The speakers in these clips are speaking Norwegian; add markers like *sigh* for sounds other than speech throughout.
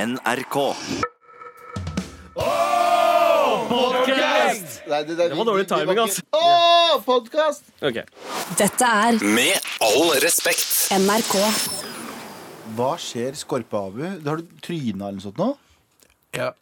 NRK. Nei, det, det, var dårlig timing, altså. ass. Åh, podcast! Ok. Dette er Med all respekt. NRK. Hva skjer, Skorpeabu? Har du tryna eller noe sånt nå? Ja.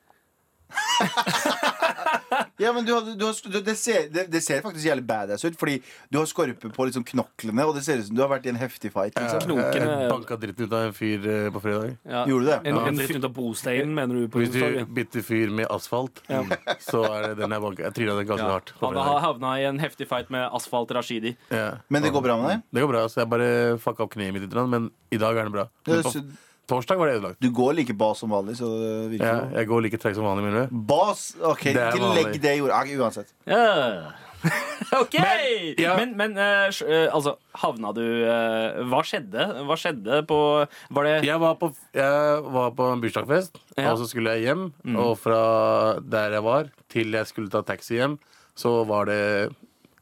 Ja, men du har, du har, du, det, ser, det, det ser faktisk jævlig badass ut, fordi du har skorpe på liksom knoklene, og det ser ut som du har vært i en heftig fight. Liksom. Jeg Knokene banka Eh, dritten ut av en fyr eh, på fredag. ja. Gjorde du det? En, Ja. en dritt ut av bosteinen, mener du? på Hvis du onsdag? bytter fyr med asfalt, Mm. så er det den jeg banka. Jeg tryna den ganske Ja. hardt. på Han har fredag. havna i en heftig fight med Asfalt Rashidi. Ja. Men det går bra med deg? Det går bra. Så jeg bare fucka opp kneet mitt litt, men i dag er det bra. Ja, Men på så- torsdag var det ødelagt. Du går like bas som vanlig, så det virker Ja, jo. jeg går like treg som vanlig. mener du? Bas? OK, Det er ikke legg vanlig. det i jorda. Ok, uansett. Ja. *laughs* OK! Men, ja. men, eh, sj- eh, altså, havna du eh, Hva skjedde? Hva skjedde på Var det Jeg var på, jeg var på en bursdagsfest, Ja. Mm. og så skulle jeg hjem. Og fra der jeg var, til jeg skulle ta taxi hjem, så var det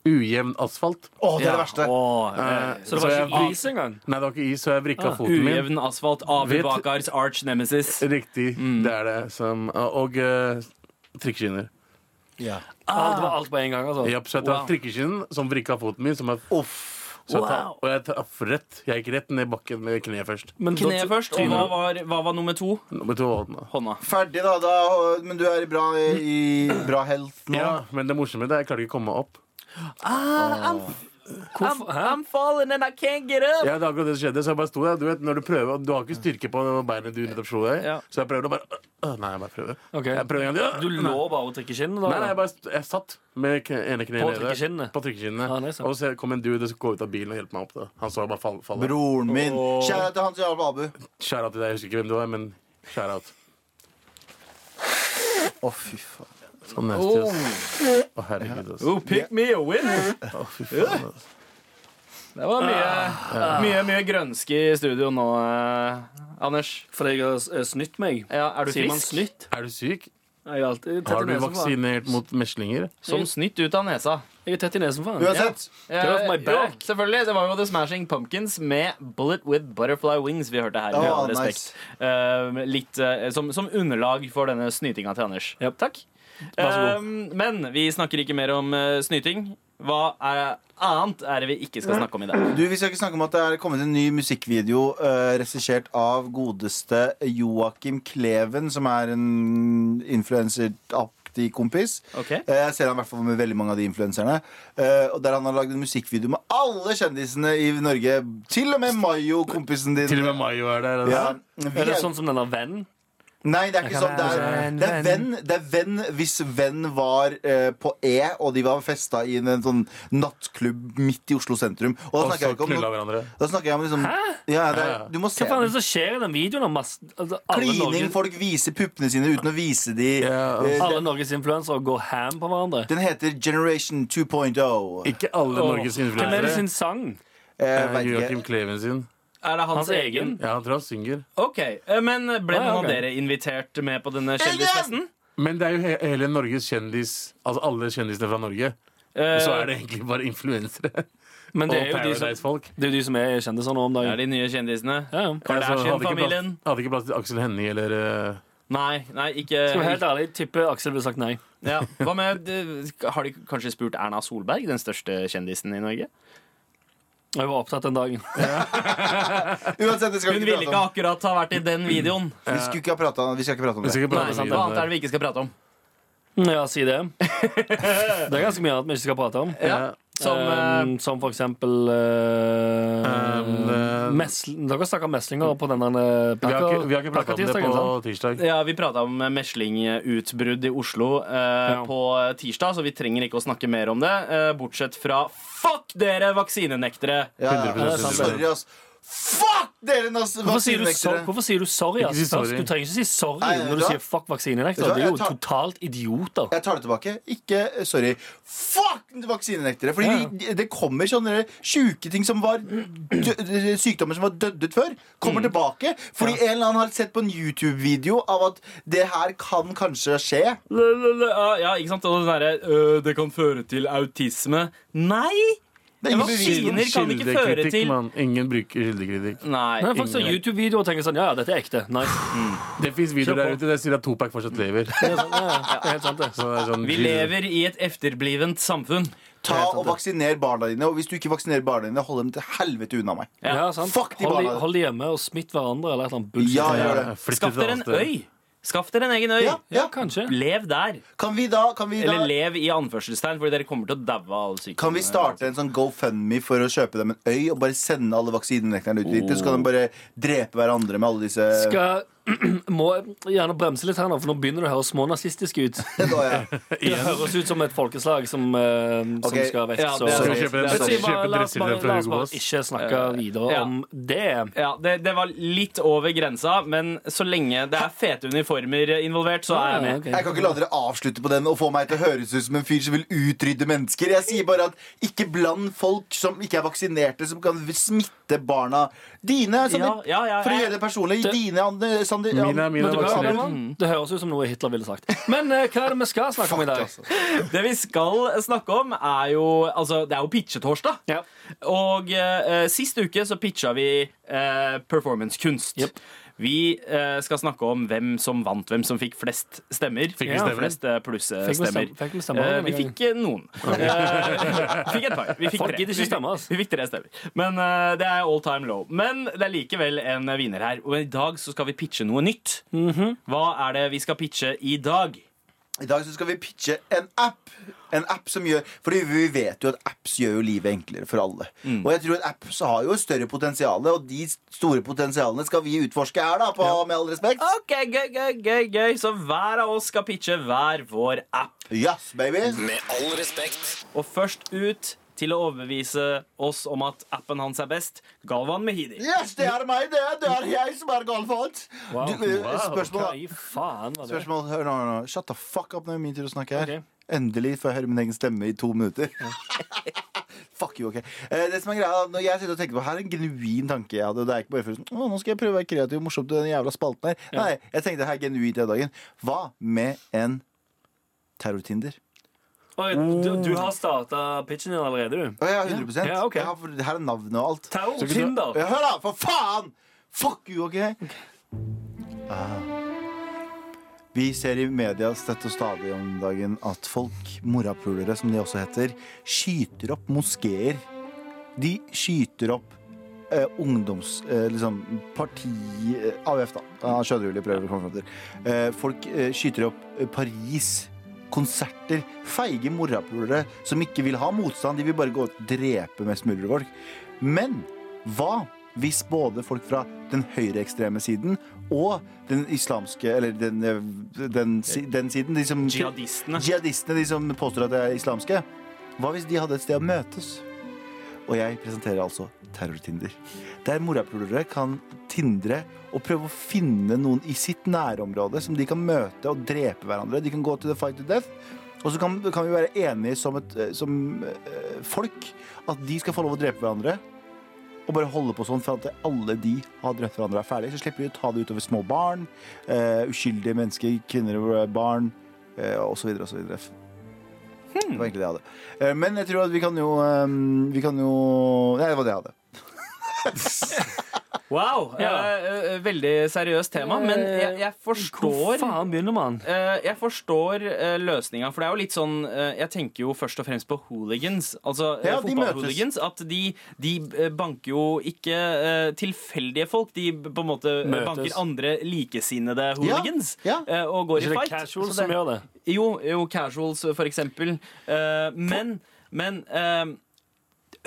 ujevn asfalt. Å, det er det verste. Å, eh, Eh, så det så var jeg- ikke is engang? Nei, det var ikke is, så jeg vrikka foten min. Ah, Ujevn asfalt. Abu Vet- Bakars arch nemesis. Riktig. Mm. Det er det. Som, og uh, trikkeskinner. Ja. Alt Ah, var alt på en gang, altså. Japp, så jeg Wow. traff trikkeskinnen som vrikka foten min. Som jeg, Uff. så jeg traff- Wow. og jeg traff rett. Jeg gikk rett ned bakken med kneet først. Men da- Kneet først. Og trynet. hva var, hva var nummer to? Med to hånden, da. Hånda. Ferdig, da, da. Men du er i bra, i bra health nå? Ja, men det morsomme det er jeg klarte ikke å komme meg opp. I'm, I'm falling and I can't get up. Ja, det er akkurat det som skjedde, så jeg bare sto der. Du vet, når du prøver, og du har ikke styrke på beinet du nettopp slo deg, Ja. så jeg prøver å bare øh, øh, Nei, jeg bare prøver. Ok. Jeg prøver en gang til. Du øh, lå bare og trykket kinnet? Nei, nei, jeg, bare, st- jeg satt med k- ene kneet På nede. trikkeskinnene? På trikkeskinnene. Ah, nice, ja. og så kom en dude som går ut av bilen og hjelper meg opp. Da. Han så jeg bare fall- falle. Broren min. Åh. Kjære til Hans Jarl Abu. Å, Shout out til deg. Jeg husker ikke hvem du var, men shout out. fy faen. Så nasty, ass. Å, herregud, ass. Oh, pick me a winner! Å, fy faen, ass. Det var mye, Ah. mye, mye grønske i studio nå, eh, Anders. For jeg har eh, snytt meg. Ja, er du Sier man frisk? snytt? Er du syk? Jeg er alltid tett Har i du nesen. faen. vaksinert mot meslinger? Som snytt ut av nesa. Jeg er tett i nesen, faen. Uansett. off my Eh, back. jo, selvfølgelig. Det var jo The Smashing Pumpkins med Bullet With Butterfly Wings vi hørte her. med Å, all respekt. nice. Eh, litt eh, som, som underlag for denne snytinga til Anders. Japp. Takk. Vær så Eh, men vi snakker ikke mer om eh, snyting. Hva er, annet er det vi ikke skal snakke om i dag? Du, Vi skal ikke snakke om at det er kommet en ny musikkvideo uh, regissert av godeste Joakim Kleven, som er en influenseraktig kompis. Ok. Eh, Jeg ser han i hvert fall med veldig mange av de influenserne. Eh, og Der han har lagd en musikkvideo med alle kjendisene i Norge. Til og med Mayo, kompisen din. Til og med Mayo er der. altså. ass. ja. Er det sånn som den der vennen? Nei, det er ikke sånn. Det er, det er, venn, det er venn hvis venn var eh, på E, og de var festa i en, en sånn nattklubb midt i Oslo sentrum. Og da Og snakker så jeg ikke om knulla noe hverandre. da snakker jeg om liksom ja, det Ja, er, ja. Du må se Hva faen er det som skjer i den videoen? om Masse, altså, alle, Klining, Norges, folk viser puppene sine uten å vise de Ja, Eh, alle Norges influensere går ham på hverandre. Den heter Generation 2.0 Jeg Ikke alle Åh, Norges Hvem er det influensere. sin sang? Eh, vet ikke. Joakim Kleven sin. Er det hans, Hans egen? egen? Ja, han tror han synger. Ok, eh, Men ble Ah, ja, noen av ok. dere invitert med på denne kjendisfesten? Men det er jo he hele Norges kjendis Altså alle kjendisene fra Norge. Eh, Så er det egentlig bare influensere. Men Og det er jo de som, Paradise-folk. det er jo de som er kjendiser nå om det er dagen. de nye kjendisene. Ja, ja. Altså, hadde, ikke Kardashian-familien. plass, hadde ikke plass til Aksel Hennie eller eh, Nei, nei, ikke Skal vi være helt ærlig, tipper Aksel ville sagt nei. ja. Hva med eh, Har de kanskje spurt Erna Solberg, den største kjendisen i Norge? Jeg var opptatt den dagen. *laughs* Uansett, det skal Hun vi ikke ville ikke prate om akkurat ha vært i den videoen. Vi skulle ikke ha pratet om Vi skal ikke prate om Vi det skal ikke Nei, prate om sant, det. Hva annet er det vi ikke skal prate om? Ja, si det. *laughs* Det er ganske mye annet vi ikke skal prate om. Ja. Som eh, Um, som for eksempel eh, Um, eh, mesl Dere snakker om meslinger på den der eh, Vi har ikke, vi har ikke prata om det på tirsdag. Ja, Vi prata om meslingutbrudd i Oslo eh, på tirsdag, så vi trenger ikke å snakke mer om det. Eh, bortsett fra fuck dere vaksinenektere! ja, 100%, ja. 100%. Sorry ass Fuck dere nas- Hvorfor sier, du so vaksinenektere Hvorfor sier du sorry? Ikke si Altså, først? sorry. Du trenger ikke si sorry Nei, vet når du du hva? sier fuck vaksinenekter. Vet du hva? Det er jo Jeg tar- totalt idioter. jeg tar det tilbake, ikke, eh, sorry Fuck vaksinenektere Fordi Ja. de- det kommer sånne syke ting som var dø- eh, Sykdommer som var dødd ut før Mm. Kommer tilbake Fordi en eller annen har sett på en YouTube-video Av at det her kan kanskje skje eh, Ja, ikke sant? Og det derre øh, Det kan føre til autisme. Nei! Det er ingen bevis. Vaksiner kan ikke føre Kildekritikk, til mann. Ingen bruker kildekritikk. Nei. Nei, folk ser Ingen. YouTube-videoer og tenker sånn Ja, ja, dette er ekte. Nei. Det fins videoer Kjør på. der ute der sier at Topak fortsatt lever. Det *laughs* er, sånn, ja, ja, det er helt sant, det. Så det er sånn, Vi lever i et efterblivent samfunn. Ta og vaksiner barna dine. Og hvis du ikke vaksinerer barna dine, hold dem til helvete unna meg. Ja, sant. Fuck de hold, de, barna. hold de hjemme og smitt hverandre eller et eller annet bullshit. Ja, gjør det. Skaff dere en øy. Skaff dere en egen øy. Ja, ja. Kanskje. Lev der. Kan vi da, kan vi Eller da lev i anførselstegn, fordi dere kommer til å daue av sykdommen. kan vi starte en sånn GoFundMe for å kjøpe dem en øy og bare sende alle vaksinenektarene ut dit? Og så kan de bare drepe hverandre med alle disse Skal, *clears throat* må gjerne bremse litt her nå, for nå begynner det å høres smånazistisk ut. *laughs* *laughs* Nå, ja. Det høres ut som et folkeslag som, eh, Ok. som skal vekk. Ja, så- det er- Skal vi kjøpe det er- den- Jeg sier kjøpe bare, La oss bare, dresseren la fra oss Hugo bare Boss? ikke snakke videre ja. om det. Ja, det, det var litt over grensa, men så lenge det er fete uniformer involvert, så er jeg med. Jeg kan ikke la dere avslutte på den og få meg til å høres ut som en fyr som vil utrydde mennesker. Jeg sier bare at ikke bland folk som ikke er vaksinerte, som kan smitte barna dine. Sander. Ja, ja, ja, For å jeg- Mm. gjøre det personlig. Dine, Anne- Sander. Mina, Anne. mina Men er det, kan, vaksinert. det høres ut som noe Hitler ville sagt. Men eh, hva er det vi skal snakke om i dag? Altså. Det vi skal snakke om, er jo Altså, det er jo pitchetorsdag. Ja. Og eh, sist uke så pitcha vi eh, performancekunst. Jep. Vi eh, skal snakke om hvem som vant, hvem som fikk flest stemmer. Fikk vi Ja, stemmer? Flest eh, Fikk vi plussestemmer. stem- fikk vi stemmer Eh, denne vi gangen? fikk eh, noen. *laughs* Eh, fikk et par. Vi fikk Folk tre. gidder ikke Vi fikk- stemme, ass. Vi fikk tre stemmer. Men eh, det er all time low. Men det er likevel en vinner her. Og i dag så skal vi pitche noe nytt. Mhm. Hva er det vi skal pitche i dag? I dag så skal vi pitche en app. En app som gjør, fordi vi vet jo at apps gjør jo livet enklere for alle. Mm. Og jeg tror at apps har jo større potensial, og de store potensialene skal vi utforske her, da, på, med all respekt. Ok, gøy, gøy, gøy, gøy Så hver av oss skal pitche hver vår app Yes, baby. Med all respekt. Og først ut til å overbevise oss om at appen hans er best Galvan Mehidi Yes, det er meg, det. Det er jeg som er galfalt. Wow. Du, eh, spørsmål, da. Hva i faen var det? Spørsmål, hør nå, hør nå. Shut the fuck up når det er min tur å snakke her. Ok. Endelig får jeg høre min egen stemme i to minutter. *laughs* fuck you, ok. Eh, Det som er greia, da, når jeg sitter og tenker på Her er en genuin tanke jeg hadde. og Det er ikke bare for sånn, å, nå skal jeg prøve å være kreativ og morsom til den jævla spalten her. Nei, jeg tenkte her genuint den dagen. Hva med en terrortinder? Oi, du, du har starta pitchen din allerede, du. Å ja, 100 Ja, ok. jeg har, for- Her er navnet og alt. Terror Ja, Tinder. Hør da, for faen! Fuck you, ok? Ah. Vi ser i media støtt og stadig om dagen at folk, morapulere som de også heter, skyter opp moskeer. De skyter opp eh, ungdoms... Eh, liksom parti... Eh, AUF, da. Ja, Skjønner du hva jeg prøver å komme frem til. Eh, folk eh, skyter opp eh, Paris. Konserter. Feige morapulere som ikke vil ha motstand. De vil bare gå og drepe mest mulig folk. Men hva hvis både folk fra den høyreekstreme siden og den islamske Eller den, eh, den, si- den siden de som, Jihadistene. Jihadistene, de som påstår at de er islamske. Hva hvis de hadde et sted å møtes? Og jeg presenterer altså Terrortinder. Der morapulere kan tindre og prøve å finne noen i sitt nærområde som de kan møte og drepe hverandre. De kan gå to the fight to death. Og så kan, kan vi være enige som, et, eh, som eh, folk at de skal få lov å drepe hverandre. Og bare holde på sånn for at alle de har drept hverandre er ferdig. Så slipper de å ta det utover små barn, eh, uskyldige mennesker, kvinner og barn, eh, og så videre og så videre. Det var egentlig det jeg hadde. Eh, men jeg tror at vi kan jo eh, Vi kan jo Nei, det var det jeg hadde. Wow, Ja. eh, eh, veldig seriøst tema Men Eh, jeg, jeg Hvor forstår faen begynner man? Eh, jeg forstår uh, løsninga, for det er jo litt sånn eh, Jeg tenker jo først og fremst på hooligans. Altså eh, Ja, de fotballhooligans. At de, de eh, banker jo ikke eh, tilfeldige folk. De b- på en måte eh, Møtes. banker andre likesinnede Ja, hooligans ja. eh, og går i Ikke det fight. casual Altså, Så det- som gjør det? Jo, jo, casuals, for eksempel. Eh, men men eh,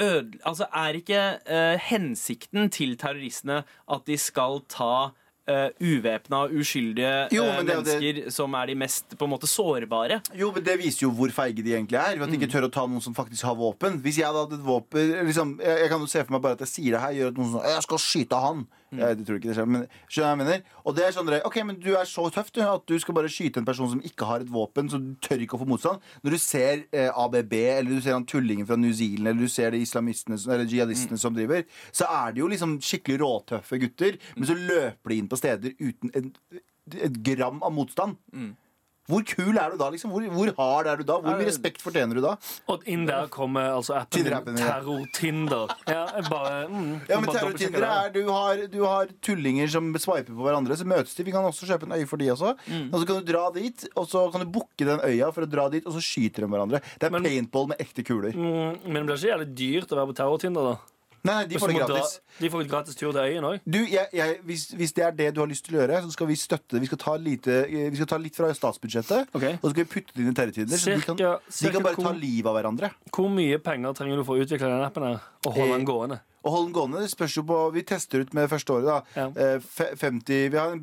øde, altså, er ikke eh, hensikten til terroristene at de skal ta uh, uvæpna, uskyldige Jo, eh, men det er jo det- mennesker som er de mest på en måte sårbare? Jo, men Det viser jo hvor feige de egentlig er. Ved at de ikke tør å ta noen som faktisk har våpen. Hvis jeg hadde hatt et våpen liksom, jeg, jeg kan jo se for meg bare at jeg sier det her, gjør at noen sånn 'Jeg skal skyte han'. Jeg, det tror jeg ikke det skjer, men skjønner jeg hva jeg mener? Og det er sånn dere, OK, men du er så tøff du, at du skal bare skyte en person som ikke har et våpen, så du tør ikke å få motstand. Når du ser eh, ABB, eller du ser han tullingen fra New Zealand, eller du ser de islamistene som- eller jihadistene som driver, så er det jo liksom skikkelig råtøffe gutter, men så løper de inn på steder uten en, et gram av motstand. Hvor kul er du da, liksom? Hvor, hvor hard er du da? Hvor mye respekt fortjener du da? Og inn der kommer altså appen Tinder-appen, min ja. Terror-Tinder. Ja, jeg bare, mm, Ja, men bare dobbeltsjekker terrortindere er du har, du har tullinger som sveiper på hverandre, så møtes de. Vi kan også kjøpe en øy for de også. Mm. Og så kan du dra dit, og så kan du booke den øya for å dra dit, og så skyter de hverandre. Det er Men- paintball med ekte kuler. det. Mm, men det blir ikke jævlig dyrt å være på Terror-Tinder, da. Nei, nei, de Hvis du får det må dra- gratis. De får et gratis tur til øyen òg. Du, jeg, jeg, hvis, hvis det er det du har lyst til å gjøre, så skal vi støtte det. Vi skal ta, lite, eh, vi skal ta litt fra statsbudsjettet, Ok. og så skal vi putte det inn i terrortider. Så de kan, Cirka- de cirka kan bare ta hvor- livet av hverandre. Hvor mye penger trenger du for å utvikle den appen her? Og holde Eh. den gående? Og hold den gående. Det spørs jo på Vi tester ut med første året, da. Ja. Eh, fe- 50, vi har en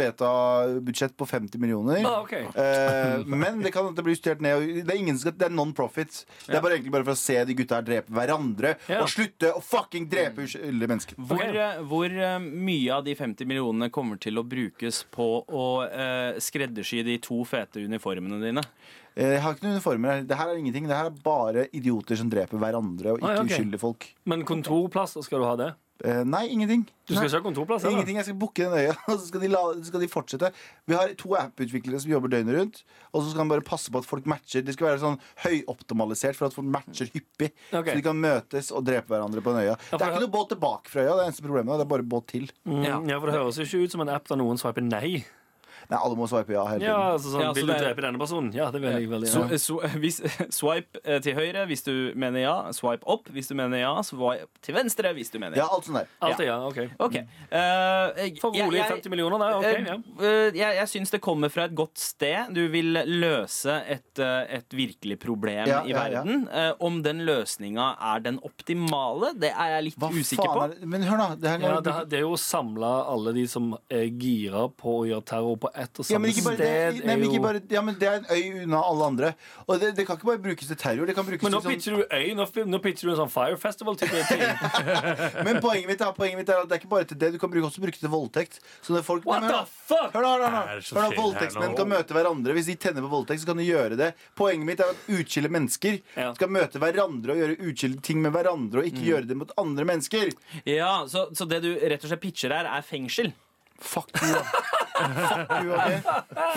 beta-budsjett på 50 millioner. Ah, ok. Eh, men det kan at det blir justert ned. og Det er, ingen som skal, det er non-profit. Det er bare, egentlig bare for å se de gutta her drepe hverandre. Ja. Og slutte å fucking drepe uskyldige mennesker. Hvor, Ok. eh, hvor eh, mye av de 50 millionene kommer til å brukes på å eh, skreddersy de to fete uniformene dine? Eh, Jeg har ikke noen uniformer her. Det her er ingenting. Det her er bare idioter som dreper hverandre, og ikke Ah, ja, ok. uskyldige folk. Men kontorplasser, skal du ha det? Eh, Nei, ingenting. Du skal Nei. ikke ha kontorplass? eller? Ingenting, Jeg skal booke den øya, *laughs* og så skal de, la, så skal de fortsette. Vi har to app-utviklere som jobber døgnet rundt. Og så skal man bare passe på at folk matcher. Det skal være sånn høyoptimalisert for at folk matcher hyppig. Ok. Så de kan møtes og drepe hverandre på en øya. Det for- er ikke noe båt tilbake fra øya. Det er eneste problemet. Det er bare båt til. Mm, Ja. ja, for Det høres jo ikke ut som en app der noen swiper nei. Nei, alle må sveipe ja hele Ja, tiden. altså sånn, Ja, så Vil du det er- drepe denne personen? Ja, det vil jeg veldig Så, gjerne. så, eh, hvis, *laughs* swipe eh, til høyre hvis du mener ja. Swipe opp hvis du mener ja. Swipe til venstre hvis du mener ja. Ja, alt sånt der. Alt er ja, ok. Ok. Eh, jeg- For rolig jeg- 50 millioner der, ok. ja. Eh, eh, Jeg, jeg syns det kommer fra et godt sted. Du vil løse et, eh, et virkelig problem Ja, i ja, ja. verden. Eh, Om den løsninga er den optimale, det er jeg litt Hva usikker på. faen er det? Men hør, da. Det her, Ja, det, det er jo å samle alle de som er gira på å gjøre terror på ett og Ja, men samme ikke bare sted. det. Nei, men er jo... ikke bare, ja, men det er en øy unna alle andre. Og det, det kan ikke bare brukes til terror. Det kan brukes Men nå til pitcher du øy, nå, fi- nå pitcher du en sånn Fire *laughs* Festival-type ting. sånn Men poenget mitt, er, poenget mitt er at det er ikke bare til det. Du kan bruke, også bruke det til voldtekt. Så når folk, What Nei, men hør da. the fuck? Hør da, hør da, hør Hva er da. det Hør som da skjer her voldtektsmenn nå? kan møte hverandre. Hvis de tenner på voldtekt, så kan de gjøre det. Poenget mitt er at uskyldige mennesker Ja. Mm. skal møte hverandre og gjøre uskyldige ting med hverandre, og ikke gjøre det mot andre mennesker. Ja, så, så det du rett og slett pitcher her, er fengsel? Fuck you, da. Fuck you, ok?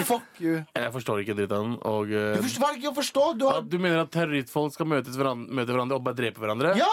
Fuck you. Jeg forstår ikke dritt av den. Og Du eh, forstår ikke å forstå. Du har at du mener at terroristfolk skal møtes hverandre, møte hverandre og bare drepe hverandre? Ja!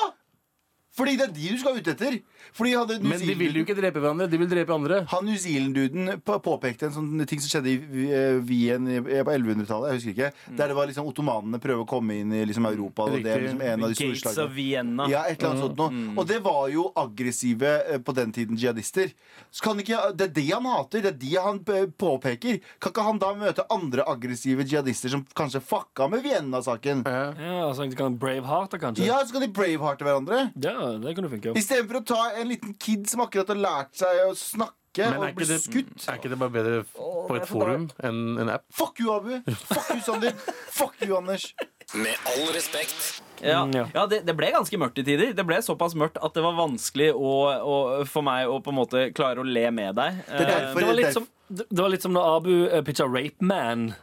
Fordi det er de du skal ut etter. Fordi hadde New Men de vil jo Zealand- ikke drepe hverandre. De vil drepe andre. Han New Zealand-duden på- påpekte en sånn ting som skjedde i eh, Wien i- på 1100-tallet. jeg husker ikke Der det var liksom ottomanene prøve å komme inn i liksom Europa. Og det er Mm. Riktig. liksom en av de store Gates of slagene. Vienna. Ja, et eller annet sånt Mm. noe. Og det var jo aggressive eh, på den tiden jihadister. Så kan ikke, Det er det han hater. Det er de han eh, påpeker. Kan ikke han da møte andre aggressive jihadister som kanskje fucka med Vienna-saken? Ja. Ja, altså, du kan Braveheart, da, kanskje? Ja, så kan de braveharte hverandre. Ja, det kunne funke. Istedenfor å ta en liten kid som akkurat har lært seg å snakke Men er og ikke, bli det, skutt. er ikke det bare bedre f- på et forum enn en app? Fuck you, Abu! Fuck you, Sander! Fuck you, Anders! Med all respekt. Ja, Mm, ja. ja det, det ble ganske mørkt i tider. Det ble såpass mørkt at det var vanskelig å, å, for meg å på en måte klare å le med deg. Eh, Det er derfor- Det var derfor- litt som, det det var litt som når Abu eh, pitcha Rape Man.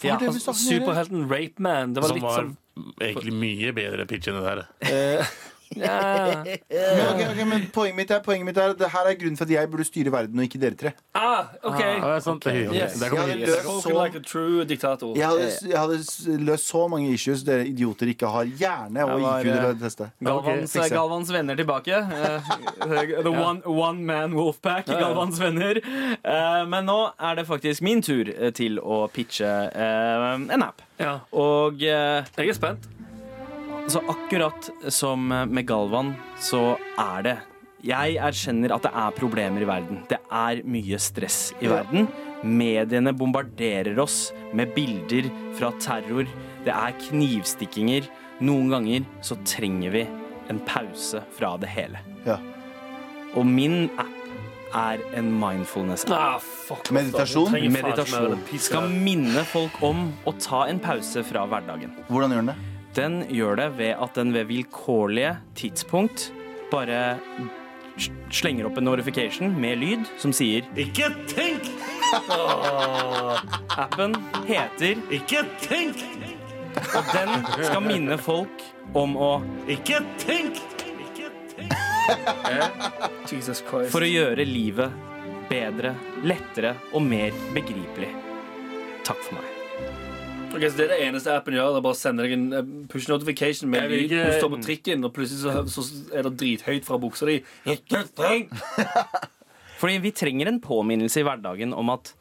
Hva er det vi snakker Altså, om, dere? Superhelten Rape Man. Det var Som litt var som egentlig mye bedre pitch enn det der. ja. Men, ok, ok, men poenget mitt er, poenget mitt er at det her er grunnen for at jeg burde styre verden, og ikke dere tre. *laughs* ah, OK. Ja, sant, det, er- Yes. det er- Jeg hadde løst Spoken så, like a true diktator. jeg hadde, jeg hadde s- løst så mange issues dere idioter ikke har hjerne og var, IQ til å teste. Galvans, eh, fikse. Galvans venner tilbake. Eh, The one, one Man Wolfpack, Galvans venner. Eh, Men nå er det faktisk min tur eh, til å pitche eh, en app. Ja. Og eh, Jeg er spent. så akkurat som med Galvan, så er det Jeg erkjenner at det er problemer i verden. Det er mye stress i verden. Mediene bombarderer oss med bilder fra terror. Det er knivstikkinger. Noen ganger så trenger vi en pause fra det hele. Ja. Og min app er en mindfulness-app. Ah, fuck. Meditasjon? Jeg trenger faen meg Meditasjon den pisken skal her. minne folk om å ta en pause fra hverdagen. Hvordan gjør den det? Den gjør det ved at den ved vilkårlige tidspunkt bare s- slenger opp en notification med lyd som sier Ikke tenk! appen heter Ikke tenk! og den skal minne folk om å Ikke tenk! Jesus Christ. for å gjøre livet bedre, lettere og mer begripelig. Takk for meg. Ok, så Det er det eneste appen gjør. Det er bare å sende deg en eh, push notification med en Jeg vil lyd. ikke- Du står på trikken, og plutselig så, så er det drithøyt fra buksa di. Ikke tenk! Fordi vi trenger en påminnelse i hverdagen om at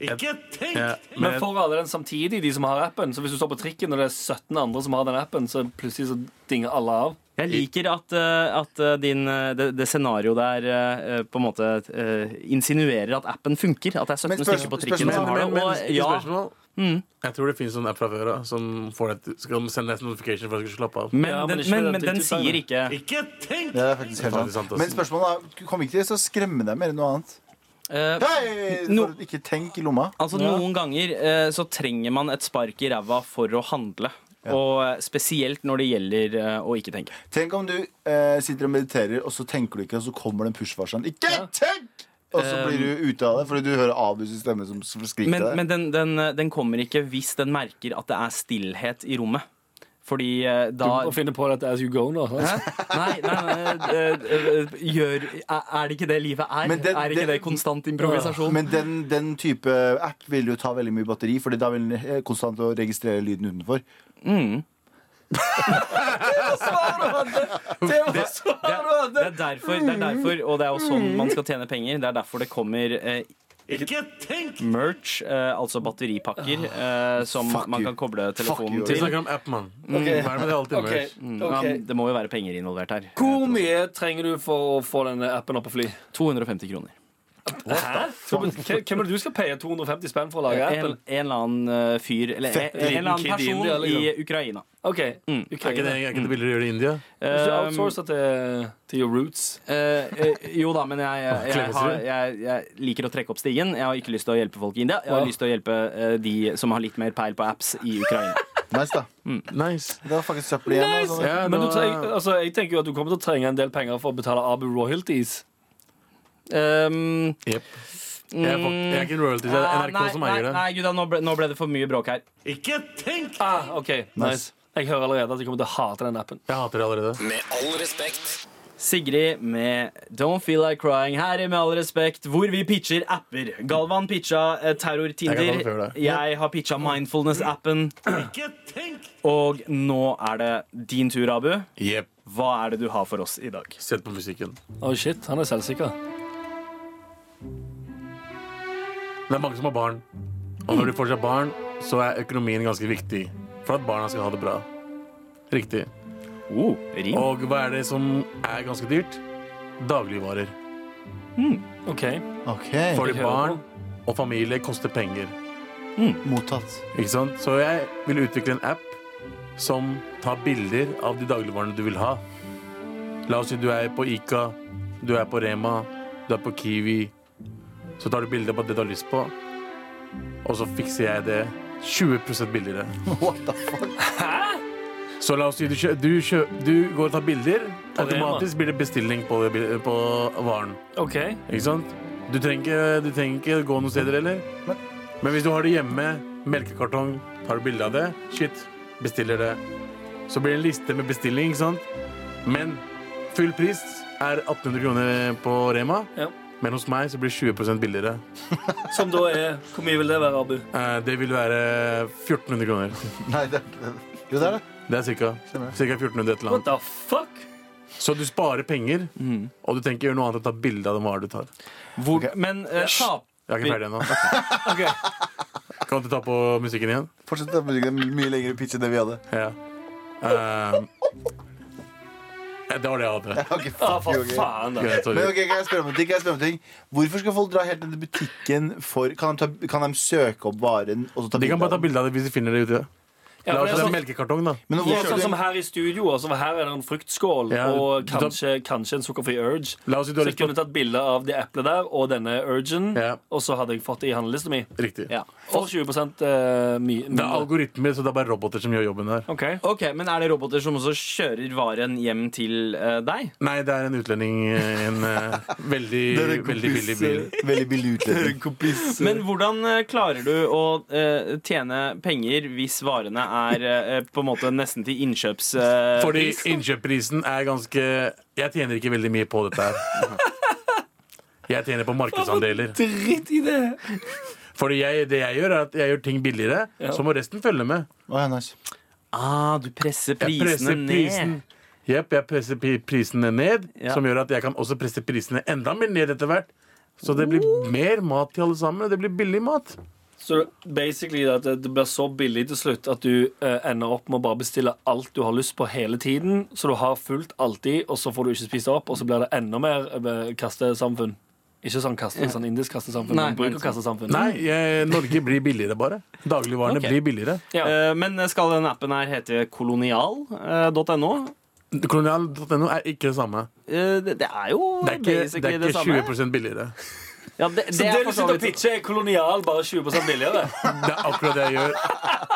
Ikke tenk! Ja, men Men får alle den samtidig, de som har appen? Så hvis du står på trikken, og det er 17 andre som har den appen, så plutselig så dinger alle av? Jeg liker at, eh, at eh, din, eh, det, det scenario der eh, på en måte eh, insinuerer at appen funker. At det er 17 Men spørs- stykker på trikken spørsmål- som har det. men, men, Og, ikke ja, Mm. spørsmål. Jeg tror det finnes en app fra før av som får deg til skal sende deg en notification for at du skal slappe av. men, Ja, men den, ikke men, den men den tidsutgangen. sier ikke Ikke tenk! Det er faktisk Det er helt faktisk sant, sant. ass. Men spørsmålet er, kommer ikke til å skremme deg mer enn noe annet? eh, Hei, No. for, ikke tenk i lomma. Altså Ja. Noen ganger eh, så trenger man et spark i ræva for å handle. Og eh, spesielt når det gjelder eh, å ikke tenke. Tenk om du eh, sitter og mediterer, og så tenker du ikke, og så kommer det en push-varsel. Ikke tenk! Og så blir du ute av det fordi du hører Abus' stemme som som skriker Men, til deg. men den, den, eh, den kommer ikke hvis den merker at det er stillhet i rommet. Fordi eh, Du da må finne på dette as you go nå. altså. Hæ? *laughs* Nei, nei, nei eh, eh, gjør, er er det ikke det livet er? Men det- er ikke det- det konstant improvisasjon? Men den, den type app vil jo ta veldig mye batteri, Fordi da vil den eh, konstant å registrere lyden utenfor. Det er, det, er derfor, det er derfor, og det er jo sånn man skal tjene penger. Det er derfor det kommer eh, Ikke tenk! merch, eh, altså batteripakker, eh, som Ah. Fuck man you. kan koble telefonen you. Vi til. snakker om app, mann. Hva er det med det alltid merch? Ja, Um, det må jo være penger involvert her. Hvor mye trenger du for å få denne appen opp på fly? 250 kroner. Hæ? Hvem hvem er det du skal paye 250 spenn for å lage En, appen? en eller annen eh, fyr Eller en, Fett en eller annen liten kid i India, person i liksom. Ukraina. Ok, Mm. Er ikke det, Ukraina. er ikke det billigere å gjøre det i India? Hvis du Um, outsourcer til, til your roots Eh, eh, jo da, men jeg, jeg, jeg, Klemmer har, du? jeg, jeg liker å trekke opp stigen. Jeg har ikke lyst til å hjelpe folk i India. Jeg har Ja. lyst til å hjelpe eh, de som har litt mer peil på apps i *laughs* Ukraina. Nice, da. Nice. Det var faktisk søppel igjen. da, sånn. Ja, Men du nå- treng, altså, jeg tenker jo at du kommer til å trenge en del penger for å betale Abu royalties. Um, Jep. Jeg er, fuck- jeg er ikke en royalty, det ah, er NRK nei, som nei, eier det. Nei, gutta, nå ble, nå ble det for mye bråk her. Ikke tenk! Ah, ok, nice. Jeg hører allerede at jeg kommer til å hate den appen. Jeg hater det allerede. Med all respekt. Sigrid med Don't Feel Like Crying her i Med all respekt, hvor vi pitcher apper. Galvan pitcha eh, Terror Jeg kan ta det før Tinder. deg. Jeg har pitcha Mindfulness-appen. Ikke tenk! Og nå er det din tur, Abu. Jepp. Hva er det du har for oss i dag? Sett på musikken. Oh shit, han er selvsikker. Det er mange som har barn. Og når de fortsatt har barn, så er økonomien ganske viktig for at barna skal ha det bra. Riktig. Oh, rim. Og hva er det som er ganske dyrt? Dagligvarer. Ok, OK. Fordi barn og familie koster penger. Mottatt. Ikke sant? Så jeg vil utvikle en app som tar bilder av de dagligvarene du vil ha. La oss si du er på Ica, du er på Rema, du er på Kiwi. Så tar du bilder på det du har lyst på, og så fikser jeg det 20 billigere. What the fuck? Så la oss si du, kjø du, kjø du går og tar bilder. Rema. Automatisk blir det bestilling på, det bil- på varen. ok Ikke sant? Du trenger ikke, du trenger ikke gå noen steder heller. Men hvis du har det hjemme, melkekartong, tar du bilde av det, shit, bestiller det. Så blir det en liste med bestilling, ikke sant? Men full pris er 1800 kroner på Rema. Ja. Men hos meg så blir det 20 billigere. Som da er Hvor mye vil det være, Abu? Eh, Det vil være 1400 kroner. Nei, det er ikke det. Jo, det er det. Det er cirka, Stemmer. cirka 1400 et eller What annet. the fuck? Så du sparer penger, Mm. og du tenker gjøre noe annet enn å ta bilde av den varen du tar. Hvor, Men eh, tap- Jeg er ikke ferdig ennå. *laughs* Ok, Kan du ta på musikken igjen? Fortsett å bruke en mye lengre pitch enn det vi hadde. Ja. Ehm, eh, det var det jeg hadde. Ok, fuck ah, you, for ok. faen da Greit, Men sorry. ok, kan jeg spørre om en ting? Kan jeg spørre om en ting? Hvorfor skal folk dra helt ned til butikken for Kan de, ta, kan de søke opp varen og så ta De kan bilde bare av ta den? bilde av det hvis de finner det ute. ja, La for oss det ta er en sånn, melkekartong, da. Men det hvorfor er skal sånn som du- her i studio. Altså, for her er det en fruktskål Ja, og du tar- kanskje, kanskje en sukkerfri Urge. La oss si du Så har jeg lyst på kunne tatt bilde av det eplet der og denne Urgen, Ja. og så hadde jeg fått det i handlelista mi. Riktig. ja. For 20 eh, mye. Det er algoritmer, så det er bare roboter som gjør jobben her. OK. Ok, Men er det roboter som også kjører varen hjem til eh, deg? Nei, det er en utlending eh, i en eh, *laughs* veldig, Det er en veldig kompis, billig bil. eh, *laughs* Veldig billig utlending. Men hvordan eh, klarer du å eh, tjene penger hvis varene er eh, på en måte nesten til innkjøps... eh, Fordi innkjøpprisen er ganske Jeg tjener ikke veldig mye på dette her. Jeg tjener på markedsandeler. Dritt i det! Fordi jeg, det jeg gjør, er at jeg gjør ting billigere, så må resten følge med. Å, ja, nice. Ah, du presser Jeg prisene presser ned. prisen. Jepp, jeg presser pri- prisene ned, Ja. som gjør at jeg kan også presse prisene enda mer ned etter hvert. Så det blir mer mat til alle sammen. og Det blir billig mat. Så basically at det det blir så billig til slutt at du eh, ender opp med å bare bestille alt du har lyst på hele tiden, så du har fullt alltid, og så får du ikke spist opp, og så blir det enda mer eh, kastesamfunn. Ikke sånn, kaste, sånn indisk kastesamfunn, Nei, men brukerkastesamfunn. Nei, jeg, Norge blir billigere bare. Dagligvarene Mm. Ok. blir billigere. Ja. Eh, Men skal denne appen her hete eh, kolonial.no? Kolonial.no er ikke det samme. Eh, Det det er jo Det er ikke, det basically er det ikke samme. 20 billigere. Ja, det, det Så det er du for så sitter og vidt pitcher, er liksom kolonial, bare 20 billigere? Det er akkurat det jeg *laughs* gjør.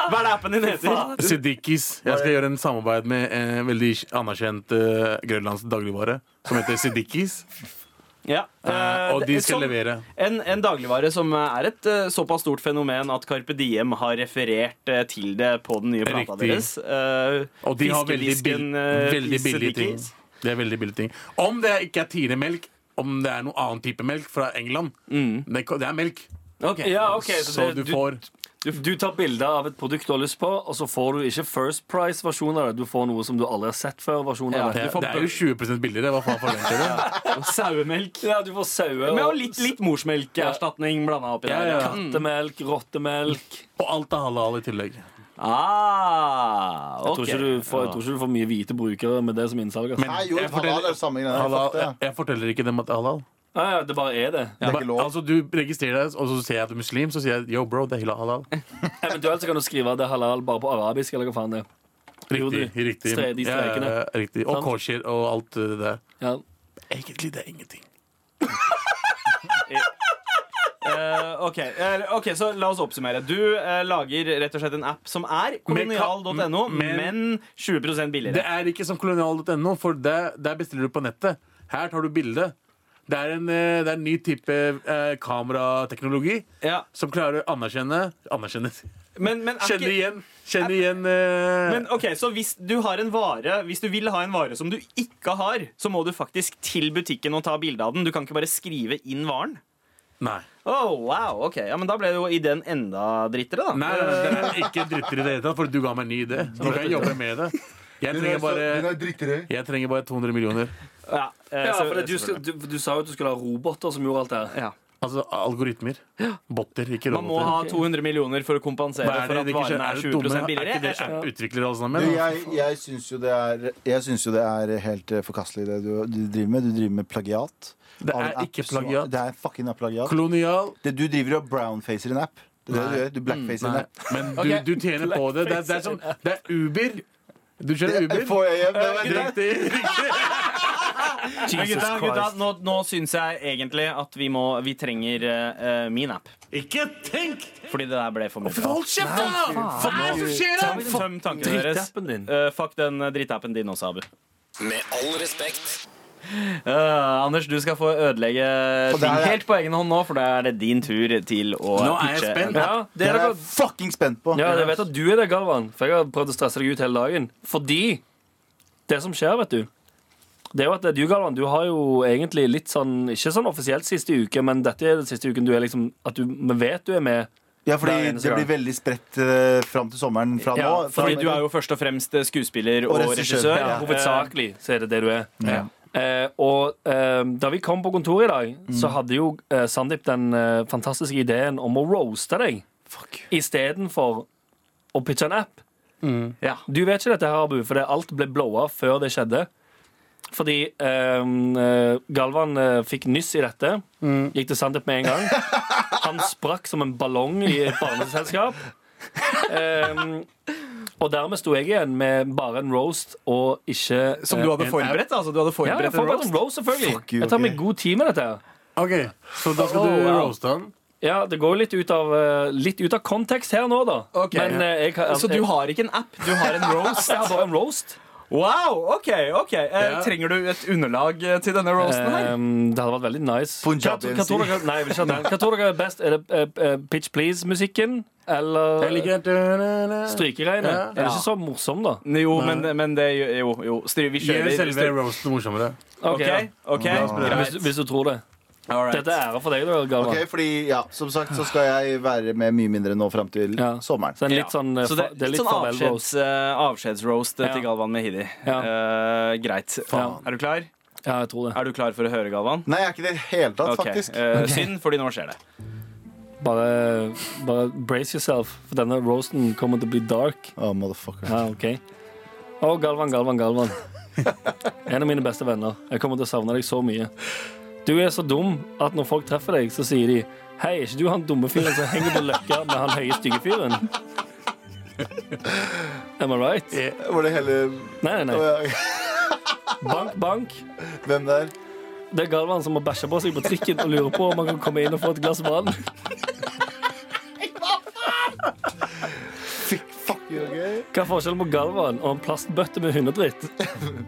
Hva er det appen din heter? Siddikis. Jeg skal gjøre en samarbeid med en veldig anerkjent uh, grønlandsk dagligvare som heter Siddikis. Ja, eh, og de det- skal som- levere. En, en dagligvare som er et eh, såpass stort fenomen at Carpe Diem har referert eh, til det på den nye plata Riktig. deres. Eh, Og de har veldig, bill fiskedisken, eh, veldig Pizza billige ting. Dickies. Det er veldig billige ting. Om det ikke er Tine-melk, om det er noen annen type melk fra England Mm. det, det er melk. Ok. Ja, *laughs* ok, Så så du det, du, får du, du tar bilde av et produkt du har lyst på, og så får du ikke First Price-versjon av det, du får noe som du aldri har sett før. versjon Ja, av det, det. du får det er jo 20 billigere. Hva faen forventer du? *laughs* Og sauemelk. Ja, du får sauer Med og og litt, litt morsmelkerstatning blanda oppi Ja, Mm. der. ja. kattemelk, rottemelk. Og alt er halal i tillegg. Ah, Jeg tror, ikke du får, jeg tror ikke du får mye hvite brukere med det som innsalg. altså. Nei, jo, halal er jeg forteller, det samme greia. Jeg halal, fatter jeg, det. jeg forteller ikke dem at det er halal. Ja, ja, det bare er det. Det er Ba- ikke lov. altså, du registrerer deg, og så ser jeg at du er muslim, så sier jeg yo, bro, det er halal. *laughs* Eventuelt så kan du skrive at det er halal bare på arabisk. eller hva faen det er. Jo, Riktig. du. riktig. Stre- de Ja, strekene. ja, riktig. Og Sant? kosher og alt det der. Ja. Egentlig det er ingenting. Eh, ok, eh, ok, så la oss oppsummere. Du eh, lager rett og slett en app som er Med ka- kolonial.no, men- men 20 Det billigere. er ikke som kolonial.no, for det, der bestiller du på nettet. Her tar du bilde. Det er en, eh, det er en ny type eh, kamerateknologi Ja. som klarer å anerkjenne Anerkjenne Men, men er Kjenne ikke- igjen. Kjenne igjen eh, Men ok, så hvis du har en vare Hvis du vil ha en vare som du ikke har, så må du faktisk til butikken og ta bilde av den. Du kan ikke bare skrive inn varen. Nei. Oh, wow, ok, ja, men Da ble det jo ideen enda drittere, da. Nei, det er ikke dritter i det hele tatt, for du ga meg en ny idé. Så Sånn. nå kan jeg jobbe med det. Jeg trenger bare, jeg trenger bare 200 millioner. Ja, eh, Ja, så- for det, du, skal- du, du sa jo at du skulle ha roboter som gjorde alt det her. ja. Altså algoritmer. Botter, ikke roboter. Man må ha 200 millioner for å kompensere Hva for at det dere varene skjønner? er det dumme? 20 Er billigere. ikke det Ja. app-utviklere alle Du, sammen? jeg, jeg syns jo det er Jeg synes jo det er helt eh, forkastelig, det du, du driver med. Du driver med plagiat. Det Av en er app ikke som- plagiat. Det er fucking plagiat. Kolonial Det, du driver og brownfacer en app. Det er det du gjør. Du blackfacer en Mm, Nei, app. men du, du tjener på det. Det er, det er, som, det er Uber. Du kjører Det Uber. får jeg hjem. det- det- Riktig. *laughs* riktig. Men Jesus gutta, gutta, Christ. nå, nå syns jeg egentlig at vi, må, vi trenger eh, eh, min app. Ikke tenk! Fordi det der ble for mye. Hold kjeft, da! Hva er det som skjer Tøm, her? tøm tankene deres. Drittappen din. Eh, fuck den eh, drittappen din også, Abu. Med all respekt. Eh, Anders, du skal få ødelegge Og det ting er- helt på egen hånd nå, for da er det din tur til å Nå er jeg pitche spent. en- Ja, det Det er er jeg dere, fucking spent på. ja, jeg vet at du er det, Galvan. For jeg har prøvd å stresse deg ut hele dagen. Fordi det som skjer, vet du det er jo at du, Galvan, du har jo egentlig litt sånn Ikke sånn offisielt siste uke, men dette er den siste uken du er liksom At du vi vet du er med. Ja, Hver fordi eneste det blir veldig spredt eh, fram til sommeren fra Ja, nå. Fordi du er jo først og fremst eh, skuespiller og, Og regissør, regissør. ja. Ja, Eh, hovedsakelig så er det det du er. Ja. Eh, og eh, da vi kom på kontoret i dag, så hadde jo eh, Sandeep den eh, fantastiske ideen om å roaste deg istedenfor å pitche en app. Ja. Du vet ikke dette, her, Abu, for det alt ble blowa før det skjedde. Fordi eh, eh, Galvan eh, fikk nyss i dette. Mm. Gikk til Sandeep med *laughs* en gang. Han sprakk som en ballong i et barneselskap. Eh, og dermed sto jeg igjen med bare en roast og ikke eh, Som du hadde forberedt? altså Du hadde ja, forberedt jeg en får bare roast? en roast, selvfølgelig. Fuck you, jeg tar meg ok. god tid med dette. her. OK, så da skal du Oh, wow. roaste han. Ja, Det går jo litt ut av, eh, litt ut av kontekst her nå, da. Ok. Men eh, jeg, kan- Så du jeg, har ikke en app, du har en roast? *laughs* jeg har bare en roast. *laughs* Wow, ok, ok Eh, Ja. Trenger du et underlag eh, til denne roasten her? Ehm, det hadde vært veldig nice. Punjab Hva- hva tror MC. dere- Nei, jeg vil ikke ha den. Hva tror dere er best? Er det eh, eh, Pitch Please-musikken? Eller Jeg liker Strykeregnet? Ja. Den er ikke så morsom, da. Eh, Jo, men, men det Jo, jo. Styr, vi Gjør kjører. selve roasten morsommere. Ok, Ok, da. ok, Ja. Hvis, greit. hvis du tror det. All right. Dette er ære for deg, da, Galvan. Ok, fordi, ja, Som sagt så skal jeg være med mye mindre nå fram til Ja. sommeren. Så en litt sånn, eh, Så det, fa- er litt sånn farvel, avskjeds, Rose. eh, avskjedsroast eh, Ja. til Galvan Mehidi. Ja. Eh, greit. Faen. Er du klar? Ja, jeg tror det. Er du klar for å høre, Galvan? Nei, jeg er ikke det i det hele tatt, Ok, faktisk. eh, Synd, fordi nå skjer det. Bare, bare brace yourself, for denne roasten kommer til å bli dark. Å, motherfucker. Ja, Ah, ok. Å, Galvan, Galvan, Galvan. En av mine beste venner. Jeg kommer til å savne deg så mye. Du er så dum at når folk treffer deg, så sier de Hei, er ikke du han dumme fyren som henger på løkka med han høye, stygge fyren? Am I right? Var det hele Nei, nei, nei. Bank, bank. Hvem der? Det er Galvan som har bæsja på seg på trikken og lurer på om han kan komme inn og få et glass vann. Fuck you, ok? Hva er forskjellen på Galvan og en plastbøtte med hundedritt?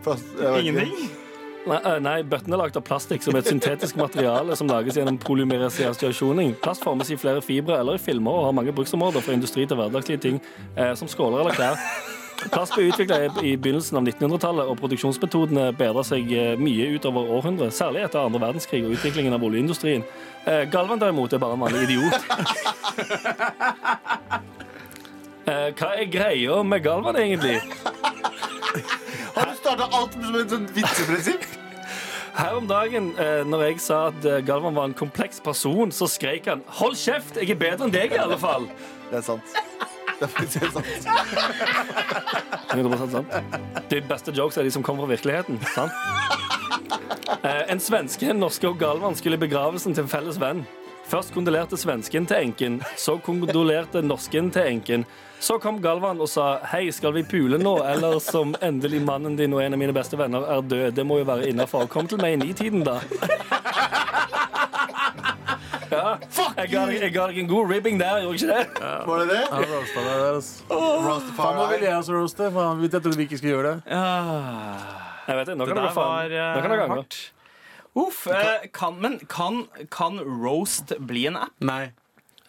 Pass- jeg vet ikke. Nei, øh, nei, bøtten er laget av plastikk som er et syntetisk materiale som lages gjennom polymerisert reaksjoning. Plast formes i flere fibre eller i filmer og har mange bruksområder fra industri til hverdagslige ting eh, som skåler eller klær. Plast ble utvikla i i begynnelsen av 1900-tallet, og produksjonsmetodene bedra seg eh, mye utover århundret, særlig etter andre verdenskrig og utviklingen av oljeindustrien. Eh, Galvan derimot er bare en vanlig idiot. Eh, Hva er greia med Galvan, egentlig? Har du starta alt som et sånt vitseprinsipp? Her om dagen, eh, når jeg sa at eh, Galvan var en kompleks person, så skrek han 'Hold kjeft! Jeg er bedre enn deg, i alle fall!' Det er sant. Det er faktisk helt sant. 100% sant. De beste jokes er de som kommer fra virkeligheten. sant? Eh, en svenske, en norske og Galvan skulle i begravelsen til en felles venn. Først kondolerte svensken til enken, så kondolerte norsken til enken. Så kom Galvan og sa 'Hei, skal vi pule nå?' Eller som endelig mannen din og en av mine beste venner er død. Det må jo være innafor. Kom til meg i nitiden, da. Ja, jeg ga, deg, jeg ga deg en god ribbing der, gjorde jeg ikke det? Var det det? Han roasta deg der, altså. Faen, nå Rastafari. ville jeg også roaste. Faen, jeg trodde vi ikke skulle gjøre det. Jeg vet det, nå Ah, Det kan dere der var faen. Nå kan dere eh, angre. hardt. Uff. eh, Kan, men kan, kan roast bli en app? Nei.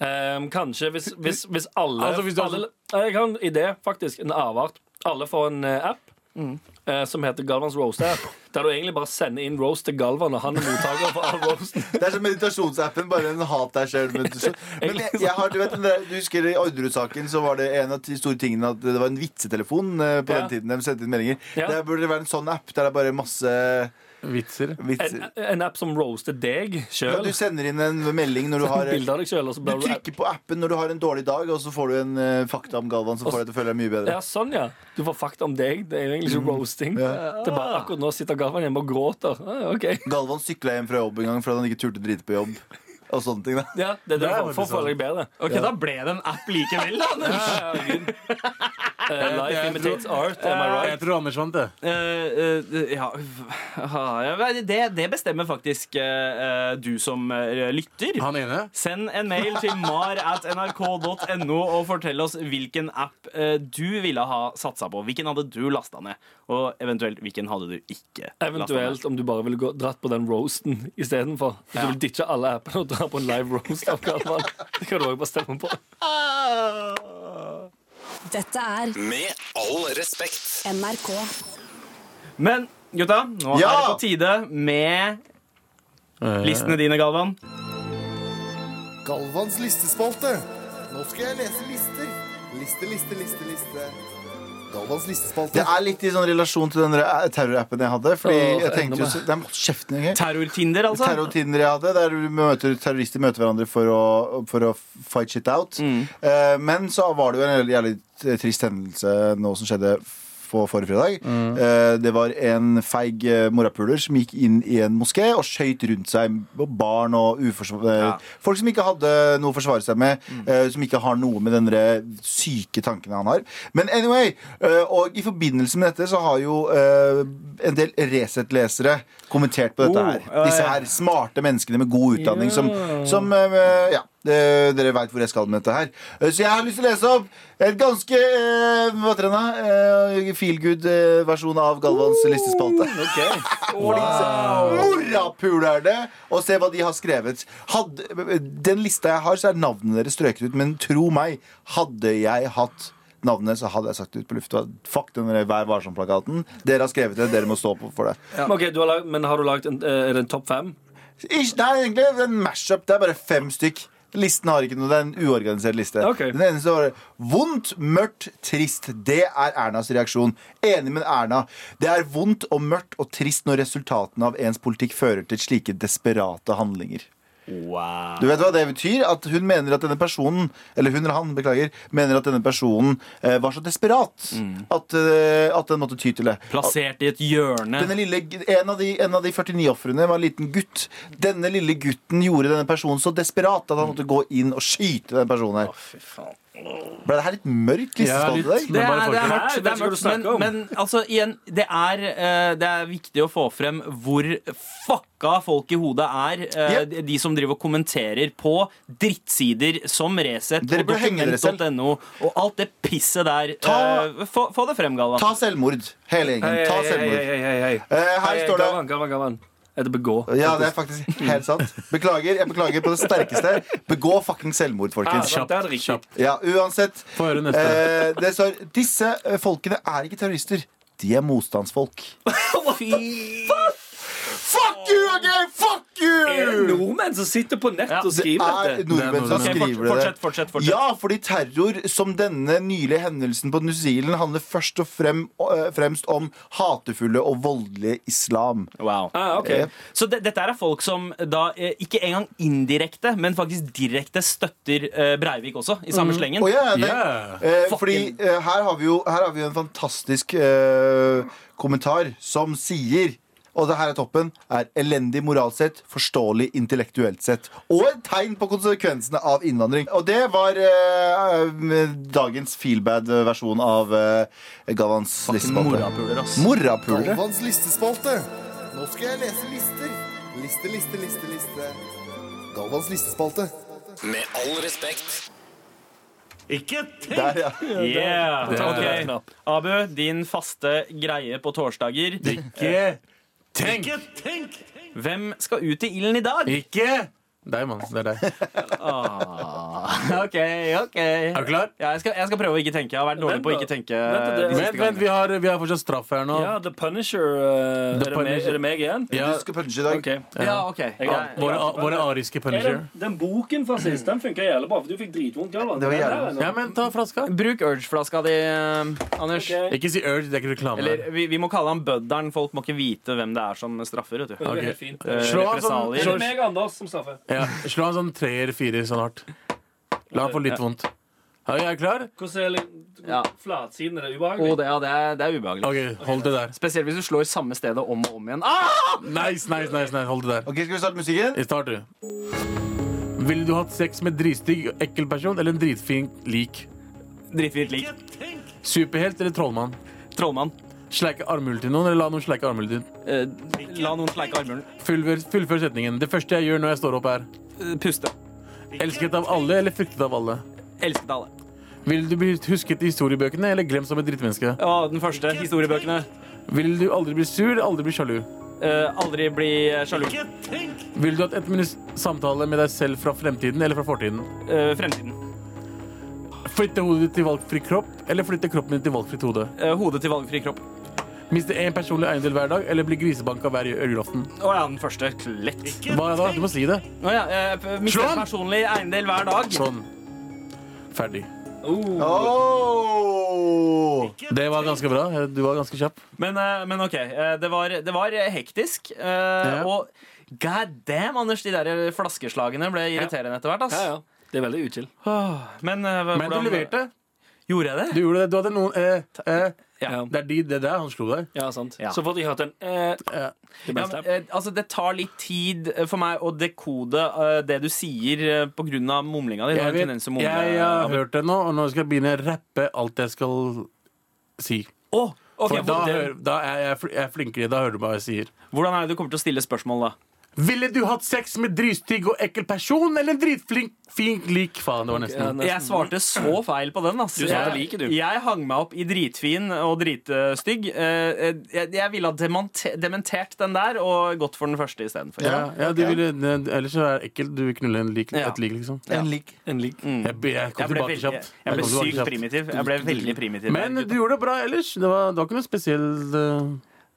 Ehm, kanskje hvis, hvis, hvis alle, Altså, hvis du- alle Nei, Jeg har en idé, faktisk. En avart. Alle får en eh, app eh, som heter Galvans Roast-app. Der du egentlig bare sender inn roast til Galvan, og han er mottaker for all roasten. Det er som meditasjonsappen, bare en hat deg sjøl. *laughs* meditasjon. Men jeg, jeg har, du, vet, den der, du husker i Orderud-saken så var det en av de store tingene at det var en vitsetelefon eh, på Ja. den tiden de sendte inn meldinger. Ja. Der burde det være en sånn app der det er bare masse Vitser. En, vitser. en app som roaster deg Ja, sjøl. du sender inn en melding når du har eh, Bilde av deg sjøl, og så Du blir du trykker på appen når du har en dårlig dag, og så får du en eh, fakta om Galvan som får deg til å føle deg mye bedre. ja, sånn, ja. Du får fakta om deg. Det er jo egentlig ikke roasting. Det er bare Akkurat nå sitter Galvan hjemme og gråter. Ah, ok Galvan sykla hjem fra jobb en gang fordi han ikke turte å drite på jobb. Og sånne ting da ja, Det er det er du får for å føle deg bedre. Ok, Da ble det en app likevel, da. *laughs* Ja, ja, Gud. Eh, life jeg imitates art, am I Jeg right? tror Anders vant, det. Eh, eh, ja ha, ja, vel, det, det bestemmer faktisk eh, eh, du som eh, lytter. Han ene. Send en mail til mar at nrk.no og fortell oss hvilken app eh, du ville ha satsa på. Hvilken hadde du lasta ned? Og eventuelt hvilken hadde du ikke lasta ned? Eventuelt om du bare ville gå, dratt på den roasten istedenfor. Hvis du vil ditche alle appene og dra på en live roast av Galvan. Det kan du også bestemme på. Dette er Med all respekt. NRK. Men gutta, nå er det Ja! på tide med listene dine, Galvan. Galvans listespalte. Nå skal jeg lese lister. Liste, liste, liste, liste. Galvans listespalte. Det er litt i sånn relasjon til den der, eh, terrorappen jeg hadde. Fordi Åh, jeg tenkte jo enda så- Det er mot kjeften jeg Terror-Tinder, altså. Terror-Tinder jeg hadde, der du møter, terrorister møter hverandre for å, for å fight shit out. Eh, men så var det jo en jævlig jævlig trist hendelse nå som skjedde på forrige fredag. Eh, det var en feig eh, morapuler som gikk inn i en moské og skøyt rundt seg og barn og uforsvar... eh, Folk som ikke hadde noe å forsvare seg med, eh, som ikke har noe med den der syke tanken han har. Men anyway, eh, og i forbindelse med dette så har jo eh, en del Resett-lesere kommentert på dette Oh, her. ja, Disse ja. her smarte menneskene med god utdanning som, som eh, Ja, eh, dere veit hvor jeg skal med dette her. Eh, Så jeg har lyst til å lese opp et ganske eh, Hva heter den, da? Eh, Feel good-versjon av Galvans listespalte. Hvor de disse morapulerne Og se hva de har skrevet. Hadde, den lista jeg har, så er navnene deres strøket ut. Men tro meg, hadde jeg hatt navnene, så hadde jeg sagt det ut på lufta. Fuck den der Vær varsom-plakaten. Dere har skrevet det, dere må stå på for det. Men, ok, du har lag, men har du lagd en, eh, er det en topp fem? Ikke, nei, egentlig det er en mashup. Det er bare fem stykk. Listen har ikke noe, Det er en uorganisert liste. Ok. Den eneste var Vondt, mørkt, trist. Det er Ernas reaksjon. Enig med Erna. Det er vondt og mørkt og trist når resultatene av ens politikk fører til slike desperate handlinger. Du vet hva det betyr? At hun mener at denne personen Eller hun eller han, beklager Mener at denne personen eh, var så desperat at, eh, at den måtte ty til det. Plassert i et hjørne. Denne lille, en, av de, en av de 49 ofrene var en liten gutt. Denne lille gutten gjorde denne personen så desperat at han måtte gå inn og skyte denne personen. her Ble det her litt mørk Ja, listespalt i litt. dag? Det Men bare er, det er fortsett. mørkt, Vet det er ikke hva du mørkt men, snakker om. men altså, igjen, det er, eh, det er viktig å få frem hvor fucka folk i hodet er. eh, Yep. de- De som driver og kommenterer på drittsider som Resett Dere og bør henge dere selv. dokument.no og alt det pisset der. Ta- Eh, få, få det frem, Galvan. Ta selvmord, hele gjengen. Ta selvmord. Eh, her står det Gavan, gavan, gavan. Er det begå? ja, det er faktisk helt sant. Beklager. Jeg beklager på det sterkeste. Begå fucking selvmord, Ah, folkens. sant, det er det riktig. Kjapt. Ja, uansett. Få høre neste. Eh, det står Disse eh, folkene er ikke terrorister. De er motstandsfolk. Fuck you, OK? Fuck Er det you! nordmenn som sitter på nett Ja, og skriver er dette? nordmenn som Det er nordmenn. skriver det. Fortsett, fortsett, fortsett. Ja, fordi terror som denne nylige hendelsen på New Zealand handler først og frem, øh, fremst om hatefulle og voldelige islam. Wow. Ah, ok. Eh, Så det, dette er folk som da eh, ikke engang indirekte, men faktisk direkte støtter eh, Breivik også, i samme slengen. Å, ja, det- Yeah. Eh, Fucking- fordi eh, her, har vi jo, her har vi jo en fantastisk eh, kommentar som sier og det her er toppen er elendig moralsk sett, forståelig intellektuelt sett. Og et tegn på konsekvensene av innvandring. Og det var eh, dagens feelbad-versjon av eh, Gavans listespalte. Morapuler, ass. Morapulere. Galvans listespalte. Nå skal jeg lese lister. Liste, liste, liste, liste. Galvans listespalte. Med all respekt. Ikke tenk! Der, ja. Yeah. Det er Ok. det. Knapp. Abu, din faste greie på torsdager. Ikke tenk! Ikke tenk! Hvem skal ut i ilden i dag? Ikke Deg, mann. Det er deg. OK, *laughs* OK. Er du klar? Ja, jeg, skal, jeg skal prøve å ikke tenke. Jeg har vært dårlig Vent på å da. ikke tenke. Vent, det- de siste Vent, vent, gangene. vi har, vi har fortsatt straff her nå. Ja, The Punisher. eh, The er, det meg, Punisher. er det meg igjen? Ja, Du skal punche i dag. Ok. Ja, OK. Ja. Jeg, Våre, våre ariske Er punisher. Den, den boken fra sist den funka jævlig bra, for du fikk dritvondt. Galvan. Det var Den jævlig der er noe. Ja, men ta flaska. bruk Urge-flaska di, eh, Anders. Ok. Ikke si urge, det er ikke reklame. Eller vi, vi må kalle han Bødderen. Folk må ikke vite hvem det er som straffer. vet du Det Ok. er helt fint. Eh, Slå av sånn- Er det Represalier. meg og Anders som straffer? Ja, slå han sånn treer-firer sånn hardt. La han få litt vondt. Ja, jeg er klar? Hvordan er Ja. det- flatsiden? Er Å, det ubehagelig? Oh, det, ja, det, er, det er ubehagelig. OK, hold det der. Spesielt hvis du slår samme stedet om og om igjen. Ah! Nice, nice, nice, nice. hold det der. Ok, Skal vi starte musikken? Start, du. Ville du hatt sex med en dristygg, ekkel person eller en dritfin lik? Dritfint lik. Superhelt eller trollmann? Trollmann. Sleike armhulen til noen, eller la noen sleike armhulen din? Eh, la noen sleike armhulen. Fullfør, fullfør setningen. Det første jeg gjør når jeg står opp, er Eh, puste. Elsket av alle eller fryktet av alle? Elsket alle. Vil du bli husket i historiebøkene eller glemt som et drittmenneske? Å, den første. Historiebøkene. Vil du aldri bli sur eller aldri bli sjalu? Eh, aldri bli eh, sjalu. Vil du ha et minutts samtale med deg selv fra fremtiden eller fra fortiden? Eh, fremtiden. Flytte hodet ditt til valgfri kropp, eller flytte kroppen din til valgfritt hode? Eh, hodet til valgfri kropp. Miste én personlig eiendel hver dag, eller bli grisebanka hver julaften? Å ja, den første. Lett. Hva da? Du må si det. Å ja, eh, p- mister Slå han! personlig eiendel hver dag. Sånn. Ferdig. Oh! Det var ganske bra. Du var ganske kjapp. Men, eh, men OK. eh, det, var, det var eh, hektisk. eh, Og god damn, Anders, de der eh, flaskeslagene ble irriterende etter hvert. ass. Ja, ja. Det er veldig uchill. Åh, Men, eh, hva- Men du hvordan- leverte. Gjorde jeg Du det? gjorde det. Du hadde noen eh, eh. Ja. Det er de, det der han slo deg. Ja, sant. Ja. Så fort jeg hørte en eh, Eh. det Ja, beste. men, eh, altså, det tar litt tid eh, for meg å dekode eh, det du sier eh, på grunn av mumlinga di. Du har Jeg, en vet, tendens til å mumle. jeg har Abu. hørt det nå, og nå skal jeg begynne å rappe alt jeg skal si. Å, ok, For da, hvor- hører, da er jeg, fl- jeg er flinkere. Da hører du hva jeg sier. Hvordan er det du kommer til å stille spørsmål da? Ville du hatt sex med dritstygg og ekkel person eller en dritflink flink lik? Faen, det var Ja, nesten. nesten. Jeg svarte så feil på den. ass. Du Jeg- svarte like, du. Jeg hang meg opp i dritfin og dritstygg. Eh, Jeg, jeg ville ha demante- dementert den der og gått for den første istedenfor. Ja, ja, du ok. ville, ne- ellers så er det ekkelt. Du vil knulle en lik, Ja. et lik, liksom. En lik. En lik. Jeg, jeg kom Mm. Jeg ble, tilbake veldig, jeg, kjapt. jeg ble kom tilbake sykt kjapt. primitiv. Jeg ble veldig primitiv. Men du gjorde det bra ellers. Det var, det var ikke noe spesiell eh,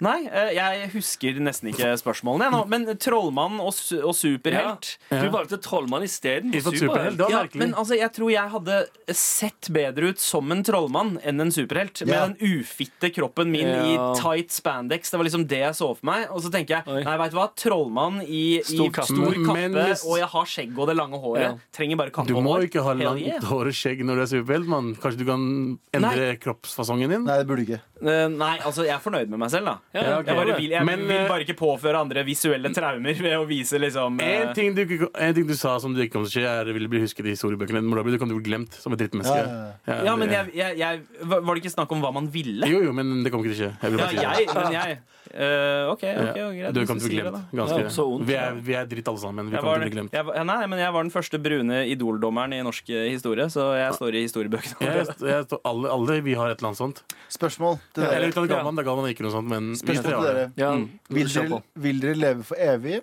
Nei, eh, jeg husker nesten ikke spørsmålene jeg nå. Men trollmann og, su- og superhelt Du valgte trollmann isteden. I for superhelt, det var Ja, merkelig. men altså, jeg tror jeg hadde sett bedre ut som en trollmann enn en superhelt. Med Ja. den ufitte kroppen min Ja. i tight spandex. Det var liksom det jeg så for meg. Og så tenker jeg, Oi. nei, veit du hva, trollmann i stor Stor i kappe. stor kappe, Men hvis- og jeg har skjegg og det lange håret. Ja. Trenger bare kappe Du og må hår. ikke ha Hell yeah. langt hår og skjegg når du er superhelt, mann. Kanskje du kan endre kroppsfasongen din? Nei, det burde du ikke. Eh, Nei, altså, jeg er fornøyd med meg selv, da. Ja, ok. Jeg, bare vil, jeg Men, vil eh, bare ikke påføre andre visuelle traumer ved å vise liksom eh, En ting, du, ikke- en ting du sa som du ikke kom til å skje, er vil bli husket i historiebøkene. Men da blir du kommer til å bli glemt som et drittmenneske. Ja, ja, Ja, men jeg, det- jeg, jeg, Var det ikke snakk om hva man ville? Jo, jo, men det kommer ikke til å skje. Jeg Ja, vil bare si det. jeg, men jeg eh, OK, ok, Ja. greit. Du hvis kommer til å bli sier det, glemt. da. Ganske. Ja, så ondt. vi, er, vi er dritt alle sammen. Vi Jeg kommer var, til å bli glemt. jeg, var- ja, nei, men jeg var den første brune idoldommeren i norsk eh, historie, så jeg står i historiebøkene. Jeg, jeg, alle, alle vi har et eller annet sånt. Spørsmål til Eller dere. utenom Galvan. Da Galvan er ikke noe sånt, men vi Spørsmål tre til har dere. det. Ja, Mm. Vil kjør dere, på. vil dere leve for evig?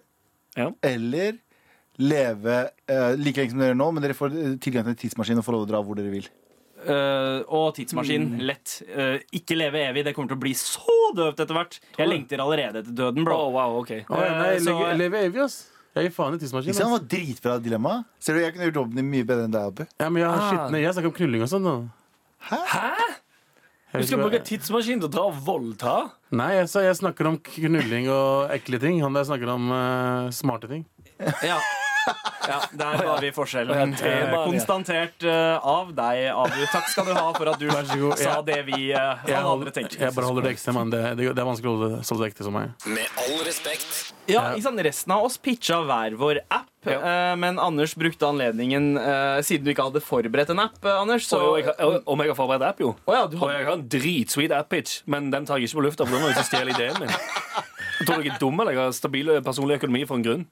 Ja. Eller leve eh, like lenge som dere gjør nå, men dere får eh, tilgang til en tidsmaskin og får lov til å dra hvor dere vil? Eh, og Mm. tidsmaskin. Lett. Eh, ikke leve evig. Det kommer til å bli så døvt etter hvert. Jeg lengter allerede etter døden, Å, bro. wow, ok. Å, ja, nei, Eh, så- leve- Leve evig, ass. Jeg gir faen i tidsmaskinen. Ikke sant? ass. Det var Dritbra dilemma. Ser du, Jeg kunne gjort jobben din mye bedre enn deg, Abu. Ja, men jeg har Ah. skitne Jeg snakker om knulling og sånn. da. Jeg Du vet skal ikke hva- bruke tidsmaskinen til å dra og voldta? Nei, jeg, sa, jeg snakker om knulling og ekle ting. Han der snakker om eh, smarte ting. Ja. ja, der har vi forskjellen. Å, ja, temaer, Eh, ja. konstatert eh, av deg, Abu. Takk skal du ha for at du god. sa det vi eh, alle andre tenker. jeg bare holder det ekte, mann. Det, det, det er vanskelig å holde det så ekte som meg. Med all respekt. Ja, ikke sant? Resten av oss pitcha hver vår app, eh, men Anders brukte anledningen eh, Siden du ikke hadde forberedt en app, eh, Anders, så Så, og jeg, har- om jeg har forberedt app, jo. Å ja, du Og jeg har en dritsweet app-pitch, men den tar jeg ikke på lufta. For da må jeg stjele ideen min. Jeg tror jeg er dum, eller jeg har stabil personlig økonomi for en grunn.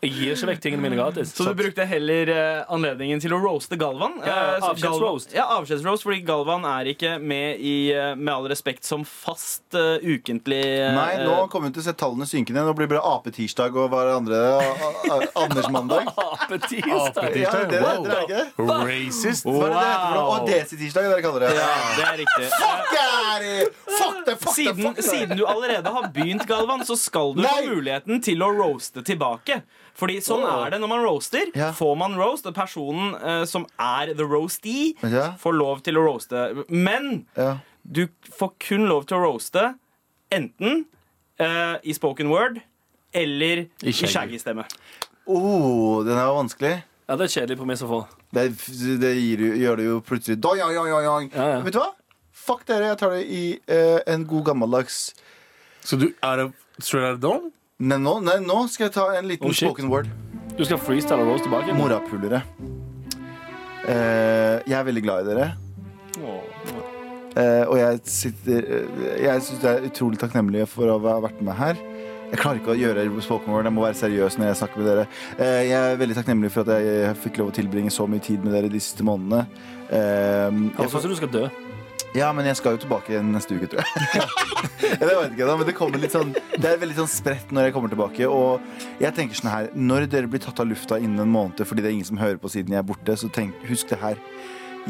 Jeg gir ikke vekk tingene mine gratis. Så du brukte heller eh, anledningen til å roaste Galvan? Ja, Eh, så avskjedsroast. Galvan- Ja, avskjedsroast, fordi Galvan er ikke med i eh, Med all respekt som fast eh, ukentlig eh, Nei, nå kommer vi til å se tallene synke ned. Nå blir det bare apetirsdag og hverandre *laughs* Anders-mandag. Apetirsdag. Ja, det er det, Wow. det er ikke det. Racist! Hva er det det heter for noe? Og Desi-tirsdag, dere kaller det. Ja, det er riktig. Eh, Fuck yeah! Fuck det, fuck det, Siden, fuck det! siden du allerede har begynt, Galvan, så skal du Nei! få muligheten til å roaste tilbake. Fordi sånn er det når man roaster. Ja. Får man roast, og personen eh, som er the roastee, Ja. får lov til å roaste. Men Ja. du får kun lov til å roaste enten eh, i spoken word eller i shaggy. shaggy-stemme. Oh, den er jo vanskelig. Ja, det er et kjedelig premiss å få. Det, det gir, jo- gjør det jo plutselig doi, oi, oi, oi, oi. Ja, ja. Vet du hva? Fuck dere, jeg tar det i eh, en god gammeldags Så du er straight out of dawn? Nei, nå, nei, nå skal jeg ta en liten Oh, shit. spoken word. Du skal freestyle og roast tilbake? Morapulere. Eh, jeg er veldig glad i dere. Eh, og jeg sitter eh, Jeg syns dere er utrolig takknemlige for å ha vært med her. Jeg klarer ikke å gjøre spoken word. Jeg må være seriøs når jeg snakker med dere. Eh, jeg er veldig takknemlig for at jeg fikk lov å tilbringe så mye tid med dere de siste månedene. Eh, Jeg jeg syns du skal dø. Ja, men jeg skal jo tilbake igjen neste uke, tror jeg. Ja, det vet jeg ikke da, men det kommer litt sånn Det er veldig sånn spredt når jeg kommer tilbake. Og jeg tenker sånn her Når dere blir tatt av lufta innen en måned fordi det er ingen som hører på siden jeg er borte, så tenk, husk det her.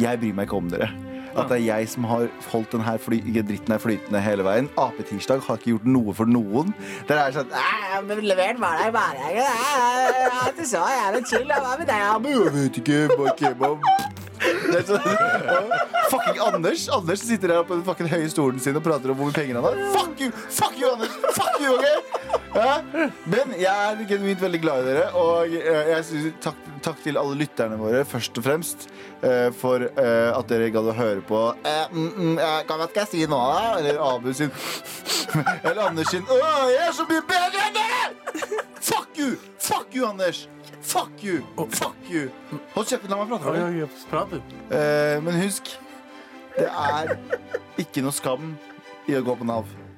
Jeg bryr meg ikke om dere. At det er jeg som har holdt den her fly dritten her flytende hele veien. Apetirsdag har ikke gjort noe for noen. Dere er sånn "Æ, Men levert var det i barnehagen. Alt du sa, jeg er litt chill. Hva med deg, Abu? Jeg vet ikke. Bare kebab. Det er sånn, fucking Anders Anders sitter her på den fucking høye stolen sin og prater om hvor mye penger han har. Fuck you! Fuck you, Anders! Fuck you, ok? Ja? Men jeg er genuint veldig glad i dere. Og eh, jeg synes, takk, takk til alle lytterne våre, først og fremst, eh, for eh, at dere gadd å høre på eh, mm, mm, eh, Hva skal jeg si nå, da? Eller Abu sin Eller Anders sin Å, jeg er så mye bedre enn dere! Fuck you! Fuck you, Anders! Fuck you! Fuck you! Hold kjeften, la meg prate. Oi, Abu. oi, oi, prat, du. Eh, men husk, det er ikke noe skam i å gå på Nav.